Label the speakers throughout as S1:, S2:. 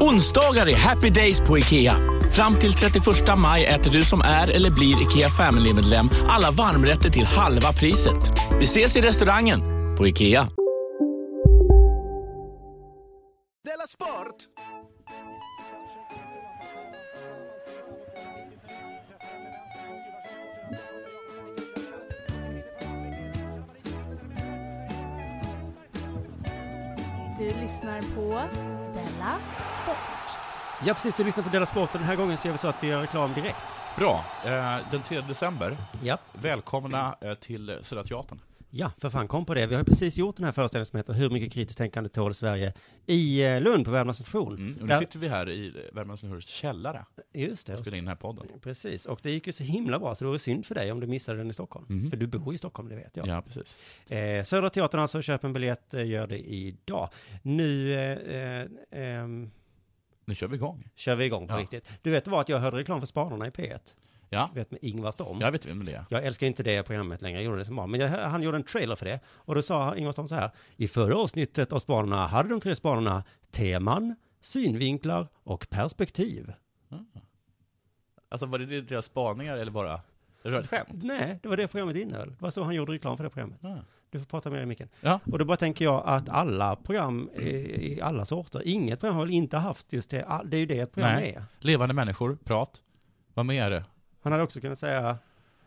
S1: Onsdagar är happy days på IKEA. Fram till 31 maj äter du som är eller blir IKEA Family-medlem alla varmrätter till halva priset. Vi ses i restaurangen på IKEA.
S2: Du lyssnar på Della Sport.
S3: Ja precis, du lyssnar på Della Sport och den här gången så gör vi så att vi gör reklam direkt.
S4: Bra. Eh, Den 3 december,
S3: Ja.
S4: välkomna eh, till Södra Teatern.
S3: Ja, för fan kom på det. Vi har ju precis gjort den här föreställningen som heter Hur mycket kritiskt tänkande tål Sverige? I eh, Lund på Värmlands station.
S4: Mm. Och nu
S3: Där-
S4: sitter vi här i Värmlands Nyhörs källare
S3: Just det.
S4: och spelar in den här podden.
S3: Precis, och det gick ju så himla bra så det vore synd för dig om du missade den i Stockholm. För du bor i Stockholm, det vet jag.
S4: Mhm. Ja, precis.
S3: Eh, Södra Teatern alltså, köp en biljett, eh, gör det idag. Nu eh, eh, ehm,
S4: Nu kör vi igång.
S3: kör vi igång på
S4: Ja.
S3: riktigt. Du vet det var att jag hörde reklam för Spanarna i P1,
S4: Ja,
S3: du vet med Ingvar Storm.
S4: jag vet vem det är.
S3: Jag älskar inte det programmet längre, jag gjorde det som barn. Men jag, han gjorde en trailer för det. Och då sa Ingvar Storm så här. I förra avsnittet av Spanarna hade de tre spanarna teman, synvinklar och perspektiv.
S4: Alltså var det deras spaningar eller bara? Det var ett skämt.
S3: Nej, det var det programmet innehöll. Det var så han gjorde reklam för det programmet.
S4: Ja.
S3: Du får prata mer i micken.
S4: Ja.
S3: Och då bara tänker jag att alla program eh, i alla sorter, inget program har väl inte haft just det, Ah, det är ju det ett program är.
S4: Levande människor, prat. Vad mer är det?
S3: Han hade också kunnat säga,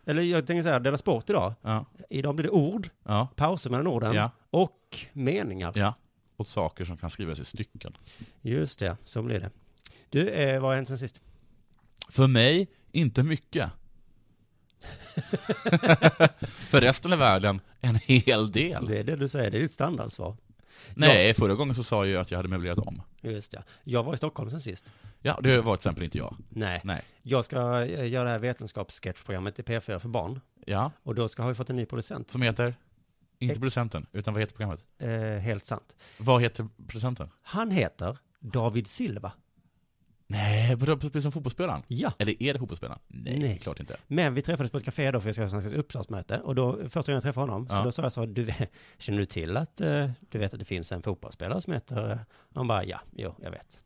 S3: eller jag tänker säga, Dela Sport idag.
S4: Ja.
S3: Idag blir det ord,
S4: Ja.
S3: pauser mellan orden
S4: Ja.
S3: och meningar.
S4: ja. Och saker som kan skrivas i stycken.
S3: Just det, så blir det. Du, eh, vad har hänt sen sist?
S4: För mig, inte mycket. För resten av världen, en hel del.
S3: Det är det du säger, det är ditt standardsvar.
S4: Nej, förra gången så sa jag ju att jag hade möblerat om.
S3: Just det. Jag var i Stockholm sen sist.
S4: Ja, det var till exempel inte jag.
S3: Nej.
S4: Nej.
S3: Jag ska eh, göra det här vetenskapssketchprogrammet i P4 för barn.
S4: Ja,
S3: Och då ska, har vi fått en ny producent.
S4: som heter? Inte producenten, utan vad heter programmet?
S3: Eh, helt sant.
S4: Vad heter producenten?
S3: Han heter David Silva.
S4: Nej, vadå, precis som fotbollsspelaren?
S3: Ja.
S4: Eller är det fotbollsspelaren? Nej,
S3: Nej.
S4: klart inte.
S3: Men vi träffades på ett café då för jag ska ha ett uppslagsmöte. Och då, första gången jag träffade honom, så
S4: Ja.
S3: då sa jag så här, du, vet- känner du till att, eh, du vet att det finns en fotbollsspelare som heter, eh?" han bara, ja, jo, jag vet.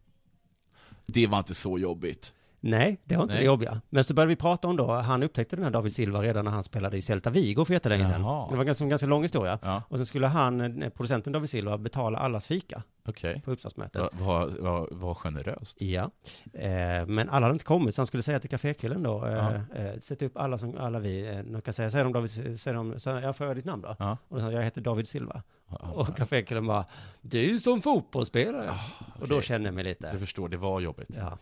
S4: Det var inte så jobbigt.
S3: Nej, det var inte
S4: Nej.
S3: det jobbiga. Men så började vi prata om då, han upptäckte den här David Silva redan när han spelade i Celta Vigo för jättelänge sedan.
S4: Jaha.
S3: Det var en ganska, en ganska lång historia.
S4: Ja.
S3: Och sen skulle han, eh, producenten David Silva, betala allas fika
S4: Okej.
S3: på uppsatsmötet.
S4: Vad va, va, va generöst.
S3: Ja, eh, men alla hade inte kommit så han skulle säga till kafékillen då, eh,
S4: Ja.
S3: eh, sätt upp alla som, alla vi, eh, de kan säga, säger de David, säger de, så, jag får jag ditt namn då?
S4: Ja.
S3: Och då sa han, jag heter David Silva.
S4: Ja.
S3: Och kafékillen bara, du är ju som fotbollsspelare. Och då
S4: okej.
S3: kände jag mig lite,
S4: Du förstår, det var jobbigt.
S3: ja,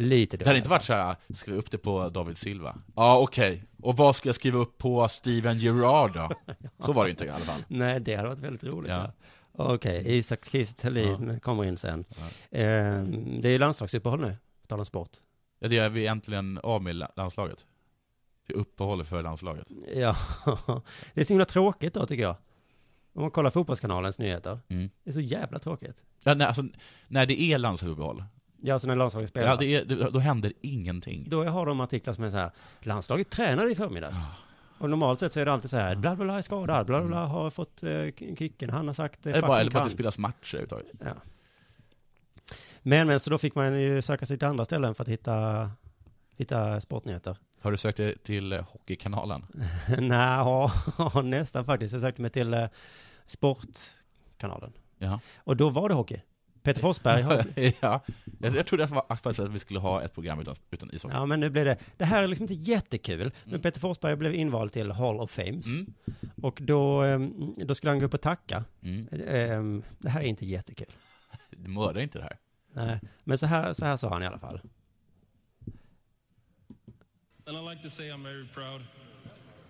S3: lite
S4: Det hade inte varit så här, skriv upp det på David Silva. Ja, okej. Och vad ska jag skriva upp på Steven Gerrard då? Så var det ju inte i alla fall.
S3: Nej, det hade varit väldigt roligt. Ja.
S4: Ja. Mm.
S3: Okej, Isak Kristelin kommer in sen. Eh, det är landslagsuppehåll nu, på tal om sport.
S4: Ja, det är vi äntligen av med la- landslaget. Det är uppehåll för landslaget.
S3: Ja, det är så himla tråkigt då tycker jag. Om man kollar fotbollskanalens nyheter.
S4: Mm.
S3: Det är så jävla tråkigt.
S4: Ja, nej, alltså, när det är landslagsuppehåll,
S3: Ja, alltså när landslaget spelar.
S4: ja, det är, det- då händer ingenting.
S3: Då har de artiklar som är så här, landslaget tränade i förmiddags. Och normalt sett så är det alltid så här, bla bla bla är skadad, bla bla bla har fått eh, kicken, han har sagt eh,
S4: Mm. Eller bara, eller bara att det
S3: kant.
S4: spelas matcher överhuvudtaget.
S3: Ja. Men, men så då fick man ju söka sig till andra ställen för att hitta, hitta sportnyheter.
S4: Har du sökt dig till eh, Hockeykanalen?
S3: Nej, nästan faktiskt. Jag sökte mig till eh, Sportkanalen.
S4: Ja.
S3: Och då var det hockey. Peter Forsberg har...
S4: ja. Jag, jag trodde att va- faktiskt att vi skulle ha ett program utan, utan ishockey.
S3: Ja, men nu blir det... Det här är liksom inte jättekul, men Peter Forsberg blev invald till Hall of Fames.
S4: Mm.
S3: Och då, ehm, då skulle han gå upp och tacka.
S4: Mm.
S3: Ehm, Det här är inte jättekul.
S4: Du mördar inte det här.
S3: Nej, men så här, så här sa han i alla fall.
S5: And I'd like to say I'm very proud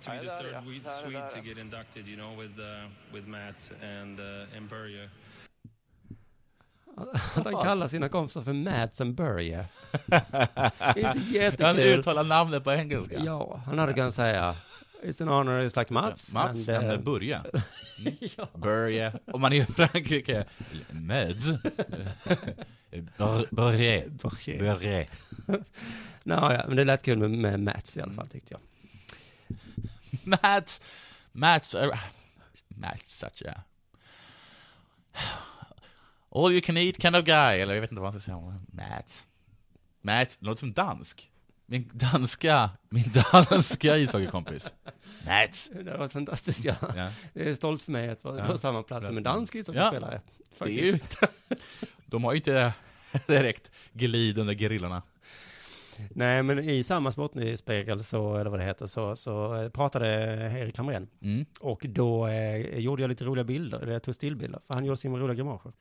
S5: to be the third Swede, Swede to get inducted, you know, with, uh, with Matt and uh, Imperia.
S3: Att han kallar sina kompisar för Mads and Burje. Inte
S4: Han
S3: jättekul.
S4: uttalar namnet på engelska.
S3: Ja, han hade kunnat säga It's an honor, it's like Mats.
S4: Mats,
S3: and,
S4: and,
S3: eh,
S4: Börje. Mm. Börje. Om man är i Frankrike, med. Bör- Börje.
S3: Börje.
S4: Börje.
S3: nå, ja, men det lät kul med, med Mats i alla
S4: Mm.
S3: fall tyckte jag.
S4: Mats. Mats. are- Mats, uh, such a... All you can eat kind of guy, eller jag vet inte vad man ska säga. Mats. Mats, låter som dansk. Min danska, min danska ishockeykompis. Mats.
S3: Det var fantastiskt. Ja.
S4: Ja.
S3: Det är stolt för mig att vara på samma plats som en dansk ishockeyspelare.
S4: Det är ju inte... De har ju inte direkt glidande grillorna.
S3: Nej, men i samma Sportnyspegel, så, eller vad det heter, så, så eh, pratade Erik Hamrén.
S4: Mm.
S3: Och då eh, gjorde jag lite roliga bilder, eller jag tog stillbilder, för han gjorde sina roliga grimaser.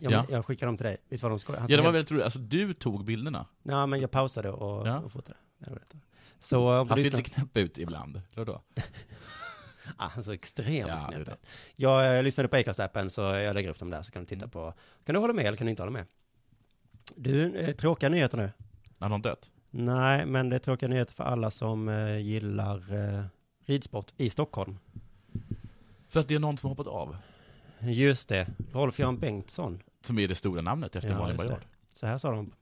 S3: Jag,
S4: Ja.
S3: jag skickade dem till dig, visst var de skoj? Han
S4: Ja, det
S3: skrev-
S4: var väldigt roligt. Alltså, du tog bilderna.
S3: Nej, men jag pausade och,
S4: Ja.
S3: och fotade. Det var det. Så om du
S4: Han ser
S3: lyssnar...
S4: lite knäpp ut ibland. Eller då?
S3: Ah, han såg extremt
S4: Ja,
S3: knäpp
S4: det är
S3: ut. Jag eh, lyssnade på Acast-appen, så jag lägger upp dem där, så kan du
S4: Mm.
S3: titta på... Kan du hålla med eller kan du inte hålla med? Du, eh, tråkiga nyheter nu.
S4: Har någon dött?
S3: Nej, men det är tråkiga nyheter för alla som eh, gillar eh, ridsport i Stockholm.
S4: För att det är någon som har hoppat av.
S3: Just det, Rolf-Göran Bengtsson.
S4: Som är det stora namnet efter
S3: Ja,
S4: Malin
S3: just det.
S4: Baryard.
S3: Så här sa de.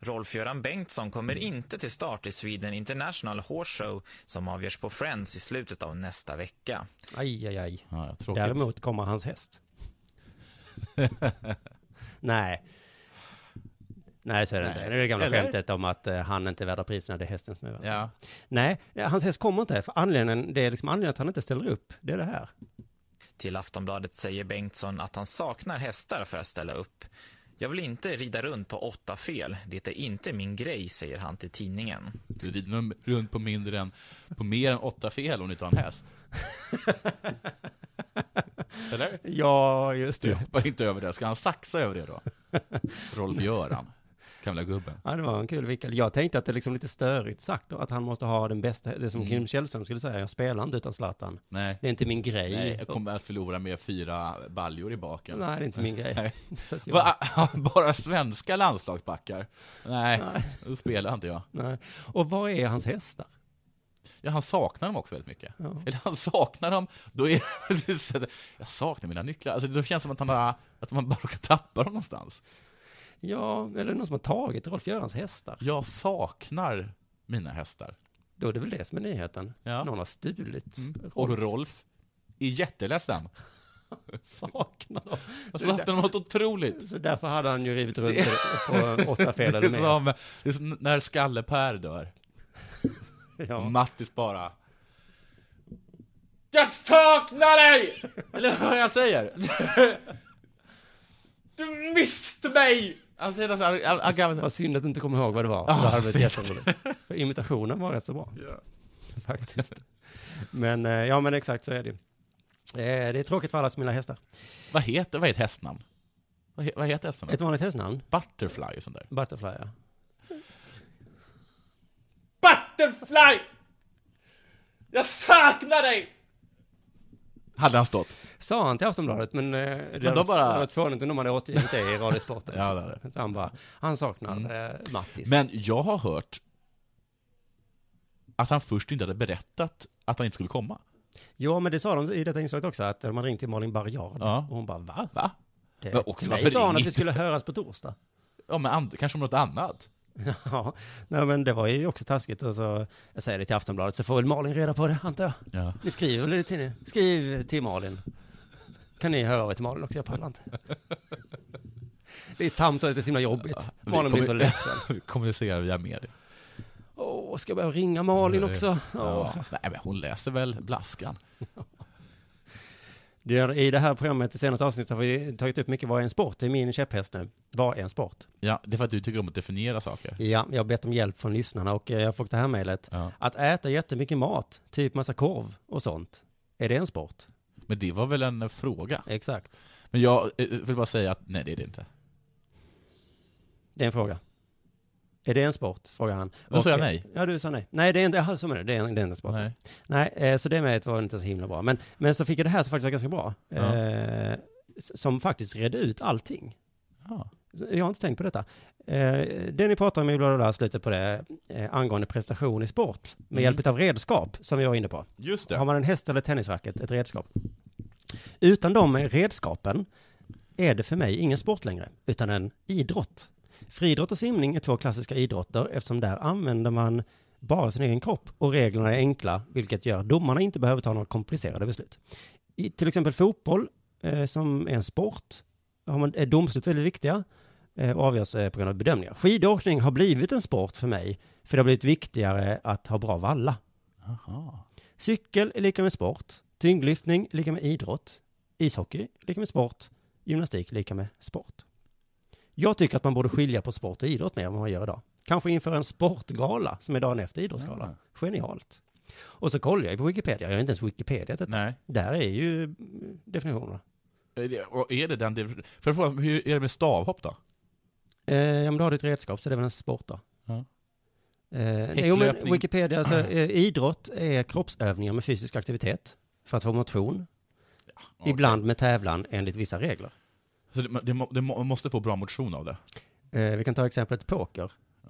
S6: Rolf-Göran Bengtsson kommer inte till start i Sweden International Horse Show som avgörs på Friends i slutet av nästa vecka.
S3: Aj, aj, aj.
S4: Ja, ja, tråkigt.
S3: Däremot kommer hans häst. Nej. Nej, så är det
S4: Nej.
S3: inte. Det är det gamla
S4: Eller?
S3: skämtet om att eh, han inte är värd priserna, det är hästen som är värd.
S4: Ja.
S3: Nej, eh, hans häst kommer inte. För anledningen, det är liksom anledningen att han inte ställer upp. Det är det här.
S6: Till Aftonbladet säger Bengtsson att han saknar hästar för att ställa upp. Jag vill inte rida runt på åtta fel. Det är inte min grej, säger han till tidningen.
S4: Du rider nog runt på mindre än, på mer än åtta fel om du inte har en häst. Eller?
S3: Ja, just
S4: Du hoppar inte över det. Ska han saxa över det då? Rolf-Göran. Gamla gubben.
S3: Ja, det var en kul vinkel. Jag tänkte att det är liksom lite störigt sagt då, att han måste ha den bästa, det
S4: Mm.
S3: som Kim Källström skulle säga, jag spelar inte utan Zlatan.
S4: Nej.
S3: Det är inte min grej.
S4: Nej, jag kommer att förlora med fyra baljor i baken.
S3: Nej, det är inte min grej.
S4: Nej.
S3: Så att jag-
S4: Va? Bara svenska landslagsbackar? Nej, då spelar inte jag.
S3: Nej. Och var är hans hästar?
S4: Ja, han saknar dem också väldigt mycket. Eller han saknar dem, då är det så att jag saknar mina nycklar. Alltså, då känns det som att, han bara, att man bara råkar tappa dem någonstans.
S3: Ja, eller är det någon som har tagit Rolf-Görans hästar?
S4: Jag saknar mina hästar.
S3: Då är det väl det som är nyheten.
S4: Ja. Mm.
S3: Någon har stulit
S4: Och
S3: Rolfs
S4: Rolf är jätteledsen. Alltså,
S3: saknar dem.
S4: Han saknar dem något otroligt.
S3: Så därför hade han ju rivit runt det på åtta fel
S4: Det
S3: eller
S4: är,
S3: mer.
S4: som, det är som när Skalle-Per dör.
S3: Ja.
S4: Mattis bara... Jag saknar dig! Eller vad jag säger. Du miste mig! Alltså, hela så här, han, han kan,
S3: Vad synd att du inte kommer ihåg vad det var.
S4: Ja,
S3: det hade varit
S4: Ah, synd.
S3: jätteroligt. För imitationen var rätt så bra. Faktiskt. Men eh, ja, men exakt så är det ju. Eh, Det är tråkigt för alla som gillar hästar.
S4: Vad heter, vad är ett hästnamn? Vad, he, vad heter hästnamn?
S3: Ett vanligt hästnamn?
S4: butterfly och sånt där.
S3: Butterfly, ja.
S4: Butterfly! Jag saknar dig! Hade han stått?
S3: Sa han till Aftonbladet, men eh, det
S4: då
S3: hade
S4: bara-
S3: bara... varit fånigt om de hade återgivit det i Radiosporten.
S4: Ja, det hade det. Mm.
S3: Så Han bara, han saknar eh, Mattis.
S4: Men jag har hört att han först inte hade berättat att han inte skulle komma.
S3: Ja, men det sa de i detta inslaget också, att de hade ringt till Malin Baryard.
S4: Ja.
S3: Och hon bara, va?
S4: Va?
S3: Det,
S4: Men också,
S3: till mig
S4: varför
S3: sa hon att
S4: ringde
S3: vi skulle höras på torsdag.
S4: Ja, men and- kanske om något annat.
S3: Ja, nej, men det var ju också taskigt. Och så, jag säger det till Aftonbladet, så får väl Malin reda på det, antar jag.
S4: Ja.
S3: Ni skriver väl till ni? Skriv till Malin. Kan ni höra av er till Malin också? Jag pallar inte. Det är ett samtal, det är så himla jobbigt.
S4: Vi
S3: Malin blir så
S4: kommu-
S3: ledsen.
S4: Vi kommunicerar via media.
S3: Åh, ska jag börja ringa Malin också? Åh.
S4: Ja. Nej, men hon läser väl Blaskan.
S3: Det gör- I det här programmet, i senaste avsnittet, har vi tagit upp mycket vad är en sport? Det är min käpphäst nu. Vad är en sport?
S4: Ja, det är för att du tycker om att definiera saker.
S3: Ja, jag har bett om hjälp från lyssnarna och eh, jag har fått det här mejlet.
S4: Ja.
S3: Att äta jättemycket mat, typ massa korv och sånt, är det en sport?
S4: Men det var väl en eh, fråga?
S3: Exakt.
S4: eh, Men jag eh, vill bara säga att nej, det är det inte.
S3: Det är en fråga. Är det en sport? Frågar han.
S4: Då sa jag
S3: Och,
S4: nej.
S3: Ja, du sa nej. Nej, det är inte, jaha, så menar du, det är, en- det är inte en sport. Nej, eh, så det med var inte så himla bra. Men, men så fick jag det här som faktiskt var ganska bra.
S4: Ja.
S3: Eh, s- som faktiskt redde ut allting.
S4: Ja.
S3: Jag har inte tänkt på detta. Eh, det ni pratar om i bla bla bla, slutet på det, eh, angående prestation i sport, med
S4: Mm.
S3: hjälp av redskap, som vi var inne på.
S4: Just det.
S3: Har man en häst eller tennisracket, ett redskap. Utan de redskapen är det för mig ingen sport längre, utan en idrott. Friidrott och simning är två klassiska idrotter eftersom där använder man bara sin egen kropp och reglerna är enkla, vilket gör att domarna inte behöver ta några komplicerade beslut. I till exempel fotboll, eh, som är en sport, har man, är domslut väldigt viktiga eh, och avgörs eh, på grund av bedömningar. Skidåkning har blivit en sport för mig, för det har blivit viktigare att ha bra valla.
S4: Aha.
S3: Cykel är lika med sport. Tyngdlyftning är lika med idrott. Ishockey är lika med sport. Gymnastik är lika med sport. Jag tycker att man borde skilja på sport och idrott mer än vad man gör idag. Kanske införa en sportgala som är dagen efter idrottsgala. Genialt. Och så kollar jag ju på Wikipedia. Jag har inte ens Wikipedia detta.
S4: Nej.
S3: Där är ju eh, definitionerna.
S4: Är det- Och är det den... det- För att fråga, hur är det med stavhopp då?
S3: Eh, ja, men då har du ett redskap så det är väl en sport då.
S4: Ja.
S3: Eh, nej, jo, men
S4: Häcklöpning.
S3: Wikipedia, alltså, eh, idrott är kroppsövningar med fysisk aktivitet för att få motion. Ibland med tävlan enligt vissa regler.
S4: Så det, det, må- det må- måste få bra motion av det.
S3: Eh, vi kan ta exemplet poker. Eh,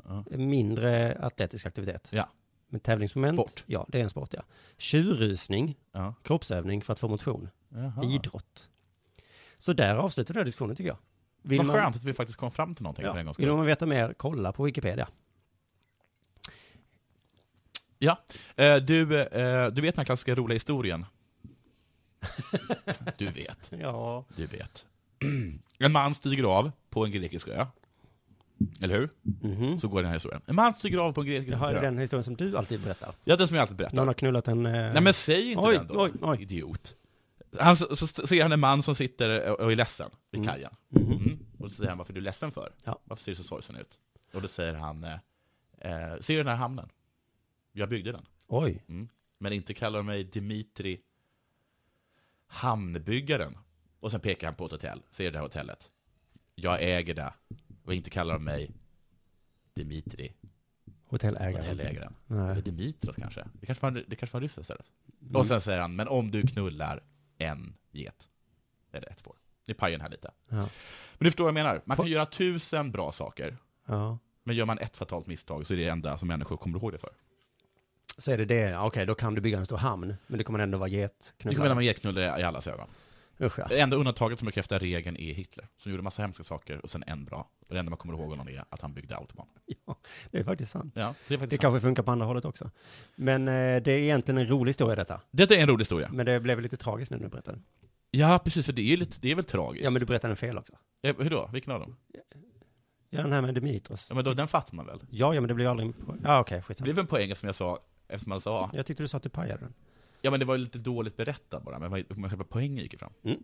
S4: Ja.
S3: Mindre atletisk aktivitet.
S4: Ja.
S3: Men tävlingsmoment,
S4: Sport.
S3: ja det är en sport ja. Tjurrusning,
S4: Ja.
S3: kroppsövning för att få motion.
S4: Jaha.
S3: Idrott. Så där avslutar vi den här diskussionen tycker jag. Vill
S4: Vad
S3: man-
S4: skönt att vi faktiskt kom fram till någonting för en
S3: Ja.
S4: gångs
S3: Vill
S4: skull.
S3: man veta mer, kolla på Wikipedia.
S4: Ja. Eh, Du, eh, du vet den här klassiska roliga historien? Du vet.
S3: Ja.
S4: Du vet. En man stiger av på en grekisk ö. Eller hur?
S3: Mhm.
S4: Så går den här historien. En man stiger av på en grekisk
S3: Jaha, är det
S4: ö.
S3: den historien som du alltid berättar?
S4: Ja, den som jag alltid berättar.
S3: Någon har knullat en... eh,
S4: Nej men säg inte
S3: oj,
S4: den då,
S3: Oj, oj,
S4: idiot. Han, så, så ser han en man som sitter och och är ledsen vid kajen. Mm. Och så säger han, varför är du ledsen för?
S3: Ja.
S4: Varför ser du så sorgsen ut? Och då säger han, eh, eh, ser du den här hamnen? Jag byggde den.
S3: oj.
S4: Mm. Men inte kallar de mig Dimitri Hamnbyggaren. Och sen pekar han på ett hotell. Ser du det här hotellet? Jag äger det. Och inte kallar de mig Dimitri
S3: Hotellägaren.
S4: hotellägaren.
S3: Nej.
S4: Eller Dimitros kanske. Det kanske var, det kanske var ryssen istället. Och sen säger han, men om du knullar en get. Eller ett får. Nu pajar den här lite.
S3: Ja.
S4: Men du förstår vad jag menar. Man kan göra tusen bra saker.
S3: Ja.
S4: Men gör man ett fatalt misstag så är det det enda som människor kommer ihåg det för.
S3: Så är det det, Ja, okej då kan du bygga en stor hamn, men det kommer ändå vara
S4: Det kommer att
S3: getknullare.
S4: vara getknullare i allas ögon.
S3: Usch ja.
S4: Det enda undantaget som bekräftar regeln är Hitler, som gjorde massa hemska saker och sen en bra. Och det enda man kommer ihåg honom är att han byggde autobahn.
S3: ja. Det är faktiskt sant.
S4: Ja, det är
S3: Det
S4: faktiskt sant.
S3: kanske funkar på andra hållet också. Men eh, det är egentligen en rolig historia detta.
S4: Detta är en rolig historia.
S3: Men det blev lite tragiskt när du berättade.
S4: Ja, precis, för det är, ju lite, det är väl tragiskt?
S3: Ja, men du berättade en fel också.
S4: Eh, Hur då? Vilken av dem?
S3: Ja, den här med Dimitros.
S4: Ja, men då, den fattar man väl?
S3: Ja, ja, men det blev aldrig en poäng. Ja, okej,
S4: Det
S3: skitsamma.
S4: blev en poäng som jag sa, eftersom man sa,
S3: Jag tyckte du sa att du pajade den.
S4: ja men det var ju lite dåligt berättat bara, men vad- men själva poängen gick ju fram.
S3: Mm.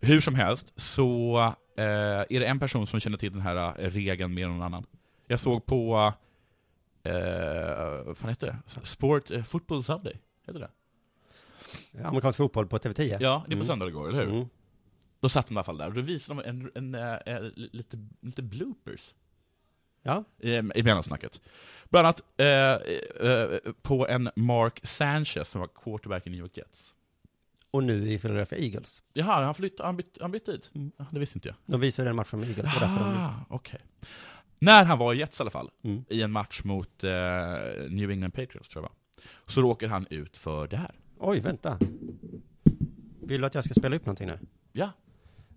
S4: Hur som helst, så eh, är det en person som känner till den här eh, regeln mer än någon annan. Jag såg på, eh, vad fan heter det? Sport, eh, Football Sunday, heter det?
S3: Amerikansk fotboll på TV10.
S4: Ja, det är på
S3: Mm.
S4: söndag igår, eller hur?
S3: Mm.
S4: Då satt de i alla fall där, och då visade de en, en, eh, eh, lite, lite bloopers.
S3: Ja,
S4: i, i mellansnacket. Bland annat eh, eh, på en Mark Sanchez som var quarterback i New York Jets.
S3: och nu i Philadelphia Eagles.
S4: Jaha, han flyttade, han bytte han bytt dit? Ja, Det visste inte jag.
S3: De visade den matchen med Eagles, Mm. det var därför de...
S4: Ah, okej. När han var i Jets i alla fall,
S3: Mm.
S4: i en match mot eh, New England Patriots tror jag va? så råkar han ut för det här.
S3: Oj, vänta. Vill du att jag ska spela upp någonting nu?
S4: Ja,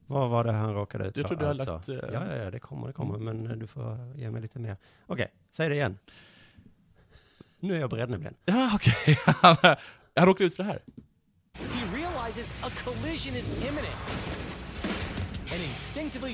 S3: Vad var det han råkade ut
S4: Jag
S3: för? Alltså,
S4: tror du har lagt,
S3: Ja,
S4: eh,
S3: ja, ja, det kommer, det kommer, men eh, du får ge mig lite mer. Okej, säg det igen. Nu är jag beredd nämligen.
S4: ja okej. Han, han råkade ut för det här.
S7: He realizes a collision is imminent. And instinctively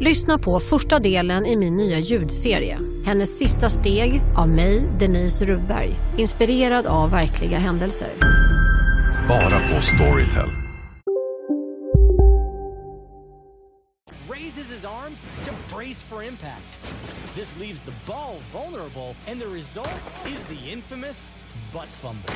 S8: Lyssna på första delen i min nya ljudserie. Hennes sista steg av mig, Denise Rubberg. Inspirerad av verkliga händelser.
S9: Bara på Storytel.
S7: raises his arms to brace for impact. This leaves the ball vulnerable, and the result is the infamous butt fumble.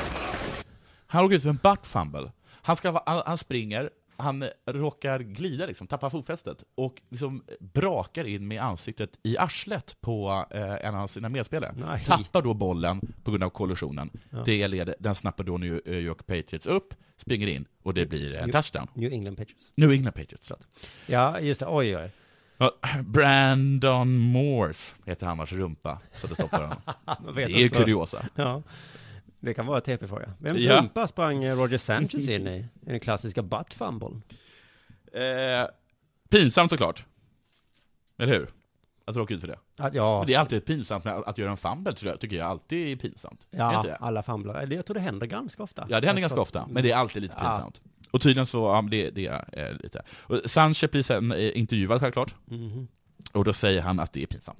S4: Han åker ut för en butt fumble. Han, ska, vara- han, han springer, han eh, råkar glida, liksom, tappar fotfästet och liksom brakar in med ansiktet i arslet på eh, en av sina medspelare. Tappar då bollen på grund av kollisionen.
S3: Ja.
S4: Det leder, den snappar då New York Patriots upp, springer in och det blir en
S3: New-
S4: touchdown.
S3: New England Patriots.
S4: New England Patriots.
S3: Ja, just det. Oj, oj.
S4: Ja, Brandon Morse heter Hammars rumpa, så det stoppar honom.
S3: Man
S4: det
S3: vet
S4: är
S3: alltså.
S4: kuriosa.
S3: Ja. Det kan vara ett TP-fråga. Vems
S4: Ja.
S3: rumpa sprang eh, Roger Sanchez in i? I den klassiska butt fumble?
S4: Eh, pinsamt såklart. Eller hur? Att råka ut för det.
S3: Att- ja.
S4: Men det är alltid pinsamt när, att göra en fumble, tror jag, tycker jag alltid är pinsamt. Är
S3: Ja,
S4: inte det?
S3: alla fumblar. Eller Jag tror det händer ganska ofta. Alltså, mm.
S4: ja det händer ganska
S3: Så-
S4: ofta, men det är alltid lite
S3: Ja.
S4: pinsamt. Och tydligen så, ja, men det, det är eh, lite... Och Sanchez blir sen eh, intervjuad självklart,
S3: Mhm.
S4: och då säger han att det är pinsamt.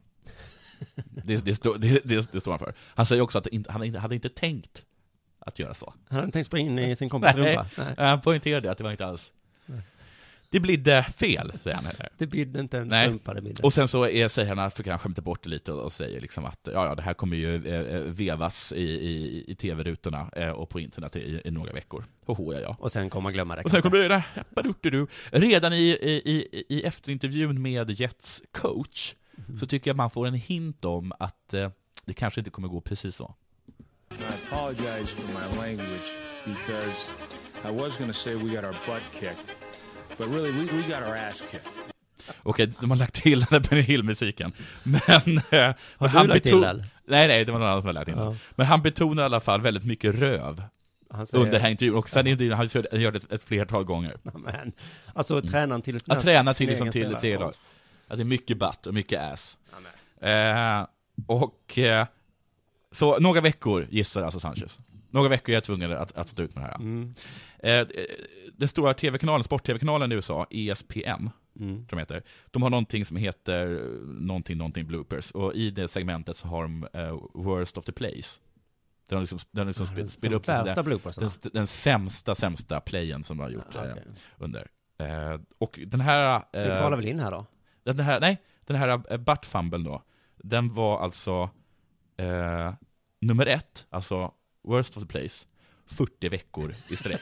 S4: Det, det, står- det, det, det står han för. Han säger också att inte, han inte- hade inte tänkt att göra så.
S3: Han hade inte tänkt springa in i sin kompis
S4: Nej,
S3: rumpa. Nej.
S4: Han poängterade att det var inte alls...
S3: Nej.
S4: Det bidde fel, säger han.
S3: Det bidde inte en
S4: Nej.
S3: strumpa, det bidde.
S4: Och sen så är, säger han, att- försöker han skämta bort det lite och säger liksom att ja, ja, det här kommer ju eh, eh, vevas i, i, i tv-rutorna eh, och på internet i, i några veckor. Hoho, ja, ja.
S3: Och sen kommer man glömma det.
S4: Och sen kommer det göra Baduttudu. Redan i, i, i, i efterintervjun med Jets coach
S3: Mhm.
S4: så tycker jag man får en hint om att eh, det kanske inte kommer gå precis så.
S10: I apologize for my language because I was going to say we got our butt kicked, but really we, we got our ass kicked.
S4: Okej, de har lagt till den där Hill-musiken. Men... Har
S3: du lagt till den?
S4: Nej, nej, det var någon annan som har lagt till den.
S3: Ja.
S4: Men han betonar i alla fall väldigt mycket röv.
S3: Han säger-
S4: Under den här intervjun, och sen ja. han gör- han gör det ett, ett flertal gånger.
S3: Men, alltså tränaren till...
S4: Att Mm. träna till, liksom,
S3: sin
S4: till
S3: egen
S4: ett
S3: spelare.
S4: serielag. Att det är mycket butt och mycket ass. Eh, och... Eh, så några veckor gissar alltså Sanchez. Några veckor är jag tvungen att, att stå ut med det här.
S3: Mm.
S4: Eh, eh, den stora tv-kanalen, sport-tv-kanalen i USA, E ESPN,
S3: Mm.
S4: tror de heter. De har någonting som heter eh, någonting, någonting bloopers. Och i det segmentet så har de eh, worst of the plays. Där de liksom, där de liksom
S3: Ah,
S4: spe-
S3: de
S4: spelar upp den,
S3: värsta
S4: där-
S3: bloopersarna.
S4: den, den sämsta, sämsta playen som de har gjort
S3: Ah,
S4: eh,
S3: okej.
S4: under. Eh, och den här... Eh,
S3: Den kvalar väl in här då?
S4: Den här nej, den här eh, butt fumble då, den var alltså eh, nummer ett, alltså worst of the place, 40 veckor i sträck.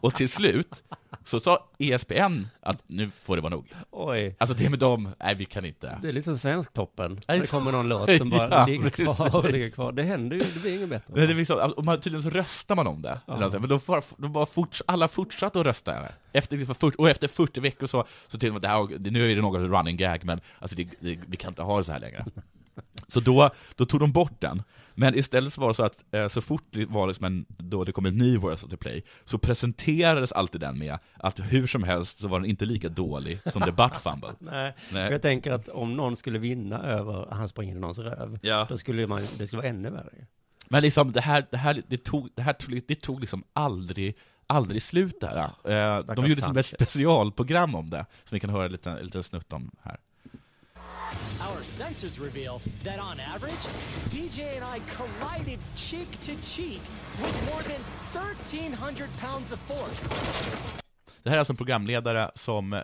S4: och till slut så sa E ESPN att nu får det vara nog.
S3: Oj.
S4: Alltså det med dem, nej vi kan inte.
S3: Det är lite som Svensktoppen.
S4: Nej,
S3: Det kommer någon
S4: så-
S3: låt som bara
S4: Ja,
S3: ligger kvar och
S4: precis.
S3: ligger kvar. Det händer ju, det blir inget bättre.
S4: Nej, det är liksom, och man, tydligen så röstar man om det.
S3: Ja.
S4: Eller något sånt. Men då får, då bara forts, alla fortsatte att rösta. Efter, liksom 40 och efter 40 veckor så, så till och med, det här, nu är det något running gag, men alltså det, det, vi kan inte ha det så här längre. Så då, då tog de bort den. Men istället så var det så att eh, så fort det, var liksom en, då det kom en ny Worst of the Play, så presenterades alltid den med att hur som helst så var den inte lika dålig som The Butt Fumble.
S3: Nej, för jag tänker att om någon skulle vinna över att han springer in i någons röv,
S4: Ja.
S3: då skulle man, det skulle vara ännu värre.
S4: Men liksom, det här, det här, det tog, det här tog, det tog liksom aldrig, aldrig slut där. Eh, de gjorde till och med ett
S3: Sanchez.
S4: specialprogram om det, som ni kan höra en liten, en liten snutt om här.
S7: Our sensors reveal that on average, DJ and I collided cheek to cheek with more than 1,300 pounds of force.
S4: Det här är alltså en programledare som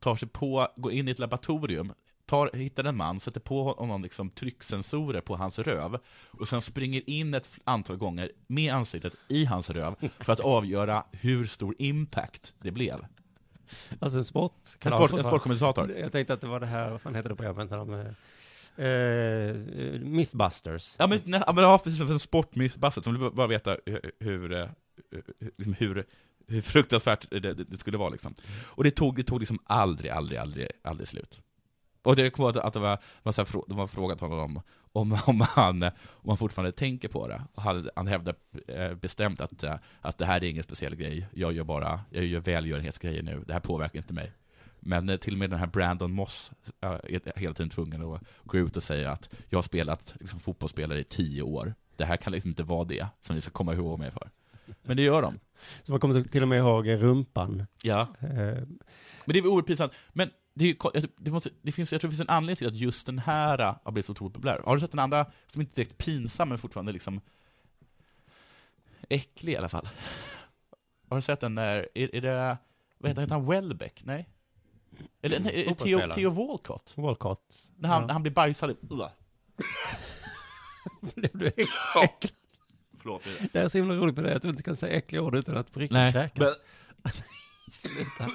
S4: tar sig på, går in i ett laboratorium, tar, hittar en man, sätter på honom liksom trycksensorer på hans röv och sen springer in ett antal gånger med ansiktet i hans röv för att avgöra hur stor impact det blev.
S3: Alltså en sportkanal.
S4: En sport- en sportkommentator.
S3: Jag tänkte att det var det här, vad fan heter det programmet när de... eh, Eh, Mythbusters.
S4: Ja men, nej, ja, men ja, precis, en sportmissbasset som vill bara veta hur, hur, eh, liksom hur, hur fruktansvärt det, det, det skulle vara liksom. Och det tog, det tog liksom aldrig, aldrig, aldrig, aldrig slut. Och det kommer att, att det var, var så här, frå- de har frågat honom om, om, om, han, om han fortfarande tänker på det. Och han, han hävdar eh, bestämt att, eh, att det här är ingen speciell grej. Jag gör bara, jag gör välgörenhetsgrejer nu. Det här påverkar inte mig. Men eh, till och med den här Brandon Moss eh, är hela tiden tvungen att gå ut och säga att jag har spelat liksom, fotbollsspelare i tio år. Det här kan liksom inte vara det som ni ska komma ihåg mig för. Men det gör de.
S3: Så man kommer till och med ihåg rumpan.
S4: Ja.
S3: Eh,
S4: Men det är väl oerhört pinsamt. Men det, är, ju ko- jag tror- det, måste, det finns, jag tror det finns en anledning till att just den här äh, har blivit så otroligt populär. Har du sett den andra som inte är direkt pinsam men fortfarande liksom äcklig i alla fall? Har du sett den där, är, är det, vad heter, heter han, Welbeck? Nej? Eller nej, är det Theo,
S3: Fotbollsspelaren.
S4: Theo Walcott?
S3: Walcott.
S4: När han,
S3: Ja.
S4: när han blir bajsad i... Ugh.
S3: Blev du
S4: äcklad? Förlåt. Ida.
S3: Det är så himla roligt med det att du inte kan säga äckliga ord utan att på riktigt
S4: Nej,
S3: kräkas. Sluta.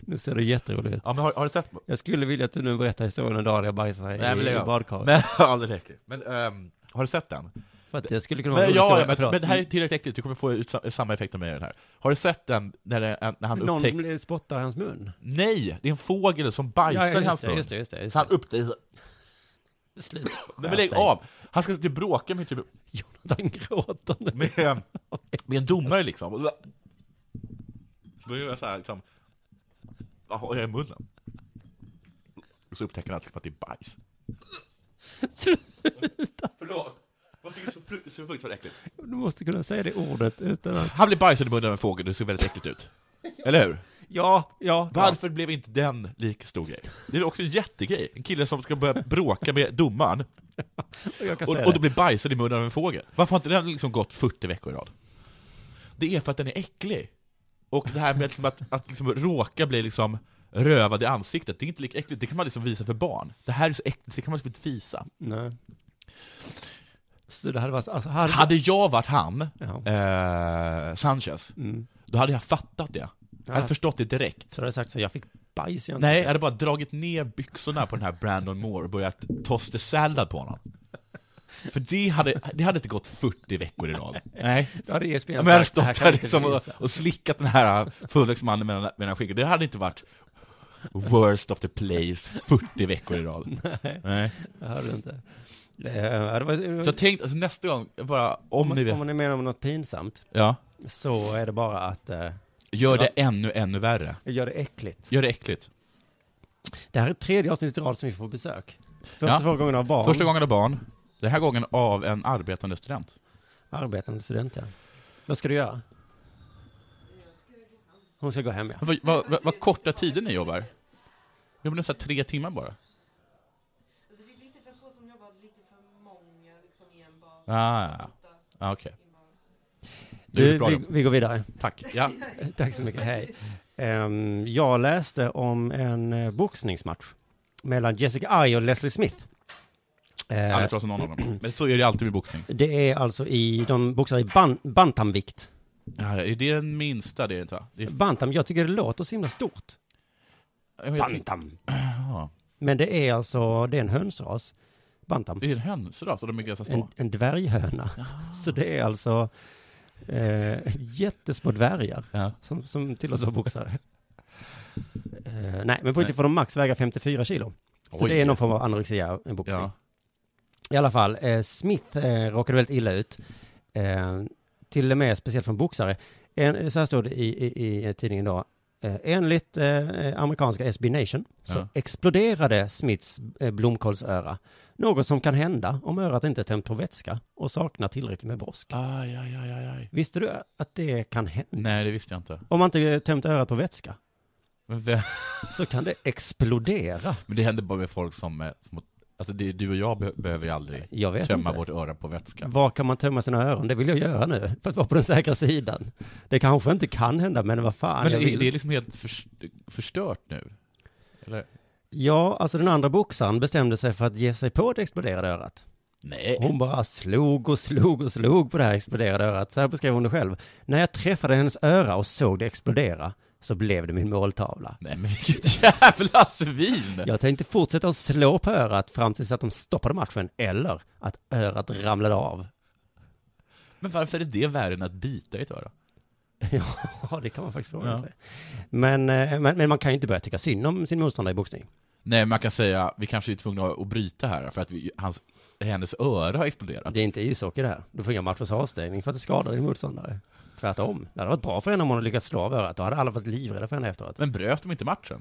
S3: Nu ser det jätteroligt ut.
S4: Ja, men har, har du sett
S3: Jag skulle vilja att du nu berättar historien en dag där jag bajsade
S4: Nej, men
S3: i,
S4: lägg
S3: i
S4: av.
S3: badkaret.
S4: Men, ja, det räcker. Men ehm, har du sett den?
S3: För att det skulle kunna vara
S4: men,
S3: en rolig
S4: ja,
S3: historia,
S4: ja, men,
S3: förlåt.
S4: men det här är tillräckligt äckligt, du kommer få ut sa- samma effekt av mig i den här. Har du sett den när, det, när han
S3: Någon
S4: upptäcker...
S3: blir- spottar i hans mun.
S4: Nej! Det är en fågel som bajsar
S3: Ja, just
S4: i hans
S3: det,
S4: mun.
S3: just det, just det, just
S4: Så han upptäcker...
S3: Sluta
S4: Nej, men lägg av! Han ska sitta och bråka med typ...
S3: Jonathan gråter
S4: Med, med en domare liksom. Och då- Så börjar jag såhär liksom... Vad har jag i munnen? Och så upptäcker han att, liksom, att det är bajs. Sluta! Förlåt! Vad tycker du så fruktansvärt så äckligt?
S3: Du måste kunna säga det ordet utan att...
S4: Han blir bajsad i munnen av en fågel, det ser väldigt äckligt ut. Eller hur?
S3: Ja, ja.
S4: Varför blev inte den lika stor grej? Det är också en jättegrej. En kille som ska börja bråka med domaren,
S3: Och jag kan
S4: och,
S3: säga
S4: och då
S3: det.
S4: blir bajsad i munnen av en fågel. Varför har inte den liksom gått 40 veckor i rad? Det är för att den är äcklig. Och det här med liksom att, att liksom råka bli liksom rövad i ansiktet, det är inte lika äckligt. Det kan man liksom visa för barn. Det här är så äckligt, det kan man liksom inte visa.
S3: Nej. Så det hade varit... Alltså, hade...
S4: Hade jag varit han, eh, Sanchez, då hade jag fattat det. Jag hade
S3: Mm. Ja.
S4: förstått det direkt.
S3: Så hade jag sagt så, jag fick bajs i ansiktet.
S4: Nej, jag hade bara dragit ner byxorna på den här Brandon Moore och börjat tosta sallad på honom. För det hade, det hade inte gått 40 veckor i rad. Nej.
S3: Då hade ESPN
S4: Ja, Men jag hade
S3: sagt, "Det här
S4: stått
S3: kan vi
S4: där
S3: inte
S4: liksom och,
S3: visa."
S4: och slickat den här fullväxtmannen mellan, mellan skinkorna. Det hade inte varit worst of the place 40 veckor i rad.
S3: Nej.
S4: Nej.
S3: Det hade du inte. Eh, det var-
S4: Så tänk, alltså, nästa gång, bara om ni vet,
S3: Om ni menar om något pinsamt.
S4: Ja.
S3: Så är det bara att... eh,
S4: gör det ännu, ännu värre.
S3: Gör det äckligt.
S4: Gör det äckligt.
S3: Det här är tredje avsnittet i rad som vi får besök. Första
S4: Ja.
S3: två gångerna av barn.
S4: Första gången av barn. Den här gången av en arbetande student.
S3: Arbetande student, ja. Vad ska du göra? Hon ska gå hem, ja.
S4: Vad, vad, vad, vad korta tider ni jobbar. Jag jobbar nästan tre timmar bara. Ah, ja. ah, okej. Det är
S3: Du,
S4: ett bra
S3: vi,
S4: jobb.
S3: vi går vidare.
S4: Tack. Ja.
S3: Tack så mycket. Hej. Ehm, jag läste om en eh, boxningsmatch mellan Jessica Ai och Leslie Smith. Eh,
S4: Aldrig trasat någon av dem. Men så är det alltid med boxning.
S3: det är alltså i, de boxar i ban, bantamvikt.
S4: Ja, är det den minsta? Det är det inte va? Det är
S3: Bantam, jag tycker det låter så himla stort. Bantam.
S4: Ja.
S3: Men det är alltså, det är en hönsras. Bantam.
S4: Det är en hönsras och de är ganska små.
S3: En, en dvärghöna. Så det är alltså eh, jättesmå dvärgar som, som tillåts vara boxare. Eh, nej, men
S4: Nej.
S3: på riktigt får de max väga 54 kilo. Så
S4: Oj.
S3: det är någon form av anorexia, en boxning.
S4: Ja.
S3: I alla fall, eh, Smith eh, råkade väldigt illa ut. Eh, till och med speciellt från boxare. En, så här står det i, i, i tidningen då. Eh, enligt eh, amerikanska SB Nation så
S4: Ja.
S3: exploderade Smiths eh, blomkålsöra. Något som kan hända om örat inte är tömt på vätska och saknar tillräckligt med brosk.
S4: Aj, aj, aj, aj, aj.
S3: Visste du att det kan hända?
S4: Nej, det visste jag inte.
S3: Om man inte eh, tömt örat på vätska
S4: Men, vem-
S3: så kan det explodera.
S4: men det händer bara med folk som... är små- Alltså det, är- du och jag be- behöver ju aldrig
S3: Jag vet
S4: tömma
S3: inte.
S4: vårt öra på vätska.
S3: Var kan man tömma sina öron? Det vill jag göra nu, för att vara på den säkra sidan. Det kanske inte kan hända, men vad fan,
S4: Men
S3: jag
S4: är
S3: vill.
S4: det är liksom helt förs- förstört nu? Eller?
S3: Ja, alltså den andra boxaren bestämde sig för att ge sig på det exploderade örat.
S4: Nej.
S3: Hon bara slog och slog och slog på det här exploderade örat. Så här beskrev hon det själv. När jag träffade hennes öra och såg det explodera så blev det min måltavla.
S4: Nej, men vilket jävla svin!
S3: Jag tänkte fortsätta att slå på örat fram tills att de stoppade matchen eller att örat ramlade av.
S4: Men varför är det värre än att bita i ett öra?
S3: Ja, det kan man faktiskt fråga
S4: Ja.
S3: sig. Men, eh, men, men man kan ju inte börja tycka synd om sin motståndare i boxning.
S4: Nej, man kan säga, vi kanske är tvungna att bryta här för att vi, hans, hennes öra har exploderat.
S3: Det är inte ishockey det här. Du får inga matchers avstängning för att det skadar din motståndare. Tvärtom. Det hade varit bra för henne om hon hade lyckats slå av örat. Då hade alla varit livrädda för henne efteråt.
S4: Men bröt de inte matchen?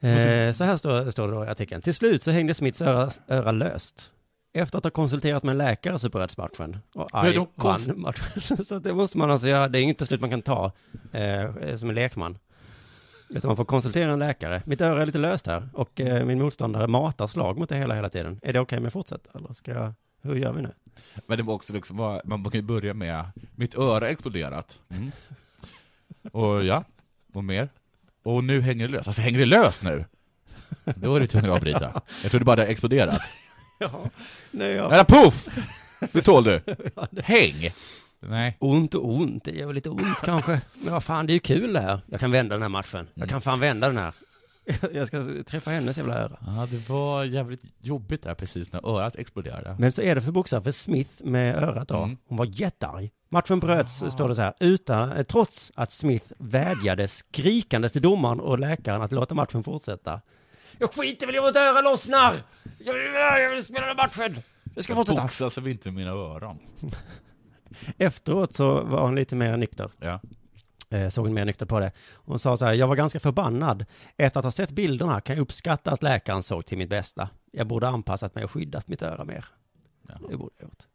S3: Eh, så här står, står det då i artikeln. Till slut så hängde Smiths öra, öra löst. Efter att ha konsulterat med en läkare så bröts matchen. Och
S4: Men
S3: Aj
S4: de
S3: vann
S4: konst-
S3: matchen. Så det måste man alltså göra. Det är inget beslut man kan ta eh, som en lekman. Utan man får konsultera en läkare. Mitt öra är lite löst här och eh, min motståndare matar slag mot det hela hela tiden. Är det okej om jag fortsätter? Eller ska jag... Hur gör vi nu?
S4: Men det var också liksom, vad- man kan ju börja med, mitt öra har exploderat. Mm. Och ja, och mer. Och nu hänger det löst. Alltså hänger det löst nu? Då är det tvungen att avbryta. Jag trodde bara det hade exploderat.
S3: Ja, nej, ja.
S4: Nära poff! Det tål du. Häng! Nej.
S3: Ont och ont, det gör väl lite ont kanske. Men vad fan, det är ju kul det här. Jag kan vända den här matchen. Jag kan fan vända den här. Jag ska träffa hennes jävla öra.
S4: Ja, det var jävligt jobbigt där precis när örat exploderade.
S3: Men så är det för boxare, för Smith med örat då, hon var jättearg. Matchen bröts, står det så här, utan, eh, trots att Smith vädjade skrikandes till domaren och läkaren att låta matchen fortsätta. Jag skiter väl i om mitt öra lossnar! Jag vill, jag vill spela den här matchen! Jag ska fortsätta.
S4: Boxas så Alltså, vi inte med mina öron.
S3: Efteråt så var hon lite mer nykter.
S4: Ja.
S3: Eh, såg hon mer nykter på det. Hon sa så här, jag var ganska förbannad. Efter att ha sett bilderna kan jag uppskatta att läkaren såg till mitt bästa. Jag borde ha anpassat mig och skyddat mitt öra mer. Det borde jag ha gjort.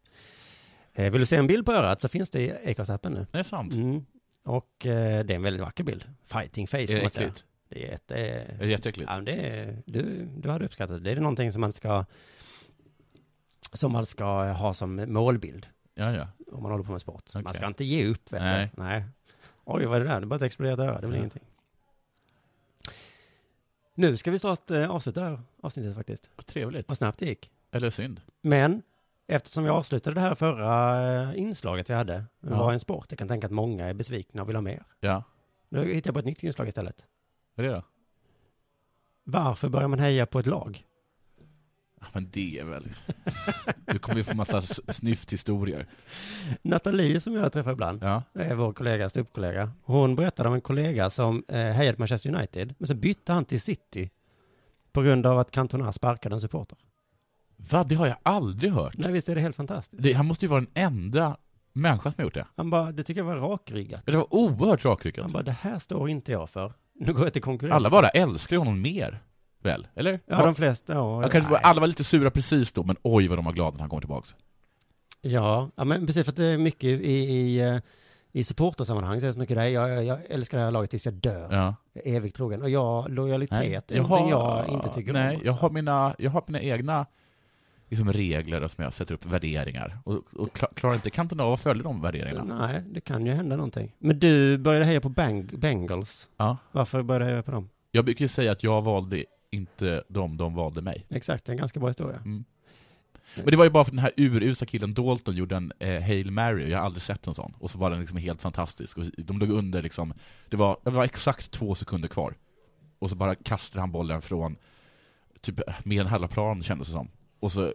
S3: Eh, vill du se en bild på örat så finns det i Acast-appen nu.
S4: Det är sant.
S3: Mm. Och eh, det är en väldigt vacker bild. Fighting face
S4: Är
S3: får
S4: det
S3: man säga.
S4: äckligt?
S3: Det är jätte... Är
S4: det jätteäckligt?
S3: Ja, men det är, du, du hade uppskattat det. Det är någonting som man ska... Som man ska ha som målbild.
S4: Ja, ja.
S3: Om man håller på med sport. Man
S4: Okej.
S3: ska inte ge upp, vet
S4: Nej.
S3: du. Nej. Oj, vad är det där? Det är bara ett exploderat öra, det blir
S4: Ja.
S3: ingenting. Nu ska vi snart eh, avsluta det här avsnittet faktiskt.
S4: Trevligt.
S3: Vad snabbt det gick.
S4: Eller synd.
S3: Men eftersom jag avslutade det här förra eh, inslaget vi hade, det
S4: Ja.
S3: var en sport, jag kan tänka att många är besvikna och vill ha mer.
S4: Ja.
S3: Nu hittar jag på ett nytt inslag istället.
S4: Vad är det då?
S3: Varför börjar man heja på ett lag?
S4: Ja, men det är väl... Du kommer ju få massa s- snyfthistorier.
S3: Nathalie som jag träffar ibland,
S4: Ja.
S3: är vår kollega, ståuppkollega. Hon berättade om en kollega som eh, hejade på Manchester United, men så bytte han till City på grund av att Cantona sparkade en supporter.
S4: Va? Det har jag aldrig hört.
S3: Nej, visst är det helt fantastiskt.
S4: Det, han måste ju vara den enda människan som har gjort det.
S3: Han bara, det tycker jag var rakryggat.
S4: Det var oerhört rakryggat.
S3: Han bara, det här står inte jag för. Nu går jag till konkurrent.
S4: Alla bara älskar honom mer, väl? Eller?
S3: Ja, de flesta, ja.
S4: Jag kanske bara,
S3: Nej.
S4: alla var lite sura precis då, men oj vad de var glada när han kom tillbaks.
S3: Ja, ja men precis för att det är mycket i, i, eh, i supportersammanhang så är det så mycket där, jag, jag, jag älskar det här laget tills jag dör.
S4: Ja.
S3: Jag är evigt trogen. Och jag, lojalitet är
S4: jag
S3: någonting
S4: har-
S3: jag inte tycker om.
S4: nej,
S3: alltså.
S4: jag har mina, jag har mina egna liksom, regler som jag sätter upp, värderingar. Och, och klar, klarar inte kanten av att följa de värderingarna.
S3: Nej, det kan ju hända någonting. Men du började heja på Bang- Bengals.
S4: Ja.
S3: Varför började du heja på dem?
S4: Jag brukar ju säga att jag valde inte dem, de valde mig.
S3: Exakt, det är en ganska bra historia.
S4: Mm. Men det var ju bara för den här urusla killen Dalton gjorde en eh, Hail Mary, jag har aldrig sett en sån. Och så var den liksom helt fantastisk. Och de låg under liksom, det var, det var exakt två sekunder kvar. Och så bara kastade han bollen från typ mer än halva planen kändes det som. Och så eh,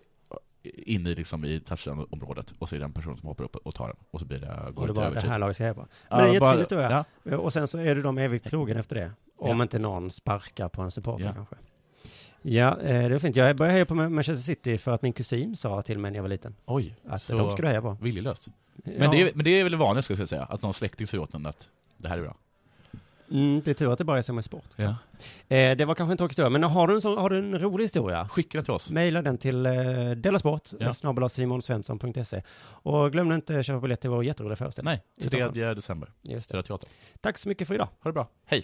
S4: in i, liksom, i touchdown-området och så är det en person som hoppar upp och tar den. Och så blir det, går typ.
S3: Och
S4: det
S3: det var
S4: till
S3: det
S4: övertid.
S3: här laget ska heja på.
S4: Ja,
S3: Men det är en
S4: bara-
S3: jättefin historia.
S4: ja.
S3: Och sen så är du dem evigt trogen efter det. Om
S4: Ja.
S3: inte någon sparkar på en supporter
S4: Ja.
S3: kanske. Ja, eh, det är fint. Jag började heja på Manchester City för att min kusin sa till mig när jag var liten.
S4: Oj,
S3: Att
S4: så
S3: alltså, de skulle heja på.
S4: Viljelöst. Men,
S3: Ja.
S4: det, är- men det är väl det vanliga, ska jag säga, att någon släkting säger åt en att det här är bra.
S3: Mm, det är tur att det bara är som en sport.
S4: Ja.
S3: Eh, det var kanske en tråkig historia, men har du en, sån, har du en rolig historia?
S4: Skicka den till oss.
S3: Maila den till eh, delasport,
S4: Ja.
S3: snabel-a simonsvensson.se. Och glöm inte att köpa biljett till vår jätteroliga föreställning.
S4: Nej,
S3: i Stockholm.
S4: 3 december.
S3: Just
S4: Södra Teatern.
S3: Tack så mycket för idag.
S4: Ha det bra. Hej.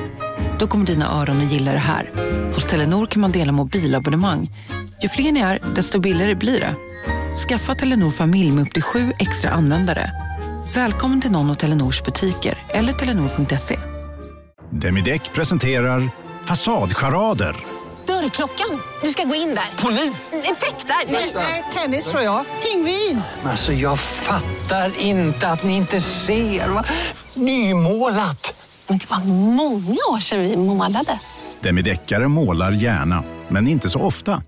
S11: Då kommer dina öron att gilla det här. Hos Telenor kan man dela mobilabonnemang. Ju fler ni är, desto billigare blir det. Skaffa Telenor familj med upp till sju extra användare. Välkommen till någon av Telenors butiker eller telenor.se.
S12: Demideck presenterar Fasadcharader.
S13: Dörrklockan. Du ska gå in där. Polis? Effektar?
S14: Nej, nej, tennis tror jag. Pingvin.
S15: Alltså jag fattar inte att ni inte ser. Va? Nymålat.
S13: Men det var många år sedan vi målade.
S7: Demideckare målar gärna, men inte så ofta.